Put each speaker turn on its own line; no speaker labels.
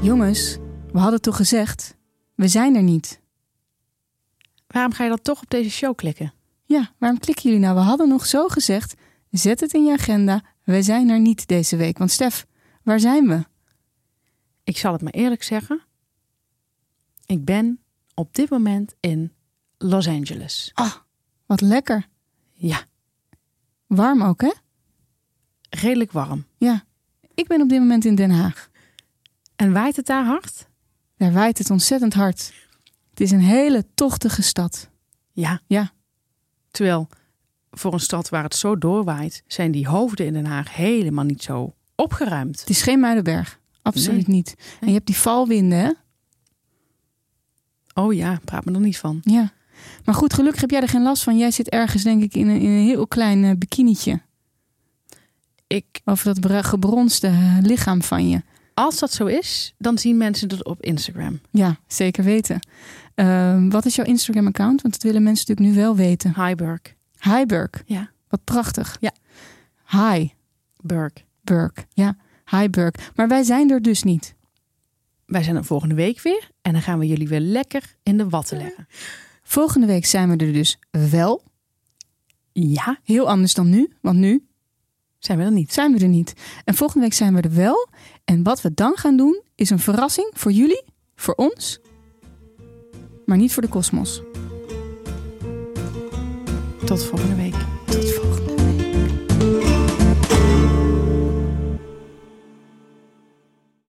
Trouwens, we hadden toch gezegd, we zijn er niet.
Waarom ga je dan toch op deze show klikken?
Ja, waarom klikken jullie nou? We hadden nog zo gezegd, zet het in je agenda, we zijn er niet deze week. Want Stef, waar zijn we?
Ik zal het maar eerlijk zeggen. Ik ben op dit moment in Los Angeles.
Ah, wat lekker.
Ja,
Warm ook, hè?
redelijk warm.
Ja. Ik ben op dit moment in Den Haag.
En waait het daar hard?
Daar waait het ontzettend hard. Het is een hele tochtige stad.
Ja.
Ja.
Terwijl voor een stad waar het zo doorwaait, zijn die hoofden in Den Haag helemaal niet zo opgeruimd.
Het is geen Muidenberg. Absoluut niet. En je hebt die valwinden, hè?
Oh ja, praat me er niet van.
Ja. Maar goed, gelukkig heb jij er geen last van. Jij zit ergens, denk ik, in een, in een heel klein eh, bikinietje.
Ik,
Over dat bra- gebronste eh, lichaam van je.
als dat zo is, dan zien mensen dat op Instagram.
Ja, zeker weten. Ehm, wat is jouw Instagram-account? Want dat willen mensen natuurlijk nu wel weten.
Hi Burk.
Hi, Burk.
Ja.
Wat prachtig.
Ja.
Hi,
Burk.
Burk. Ja, hi, Burk. Maar wij zijn er dus niet.
Wij zijn er volgende week weer en dan gaan we jullie weer lekker in de watten leggen.
Volgende week zijn we er dus wel.
Ja,
Heel anders dan nu, want nu
zijn we er niet.
zijn we er niet. En volgende week zijn we er wel. En wat we dan gaan doen is een verrassing voor jullie, voor ons, maar niet voor de kosmos.
Tot volgende week.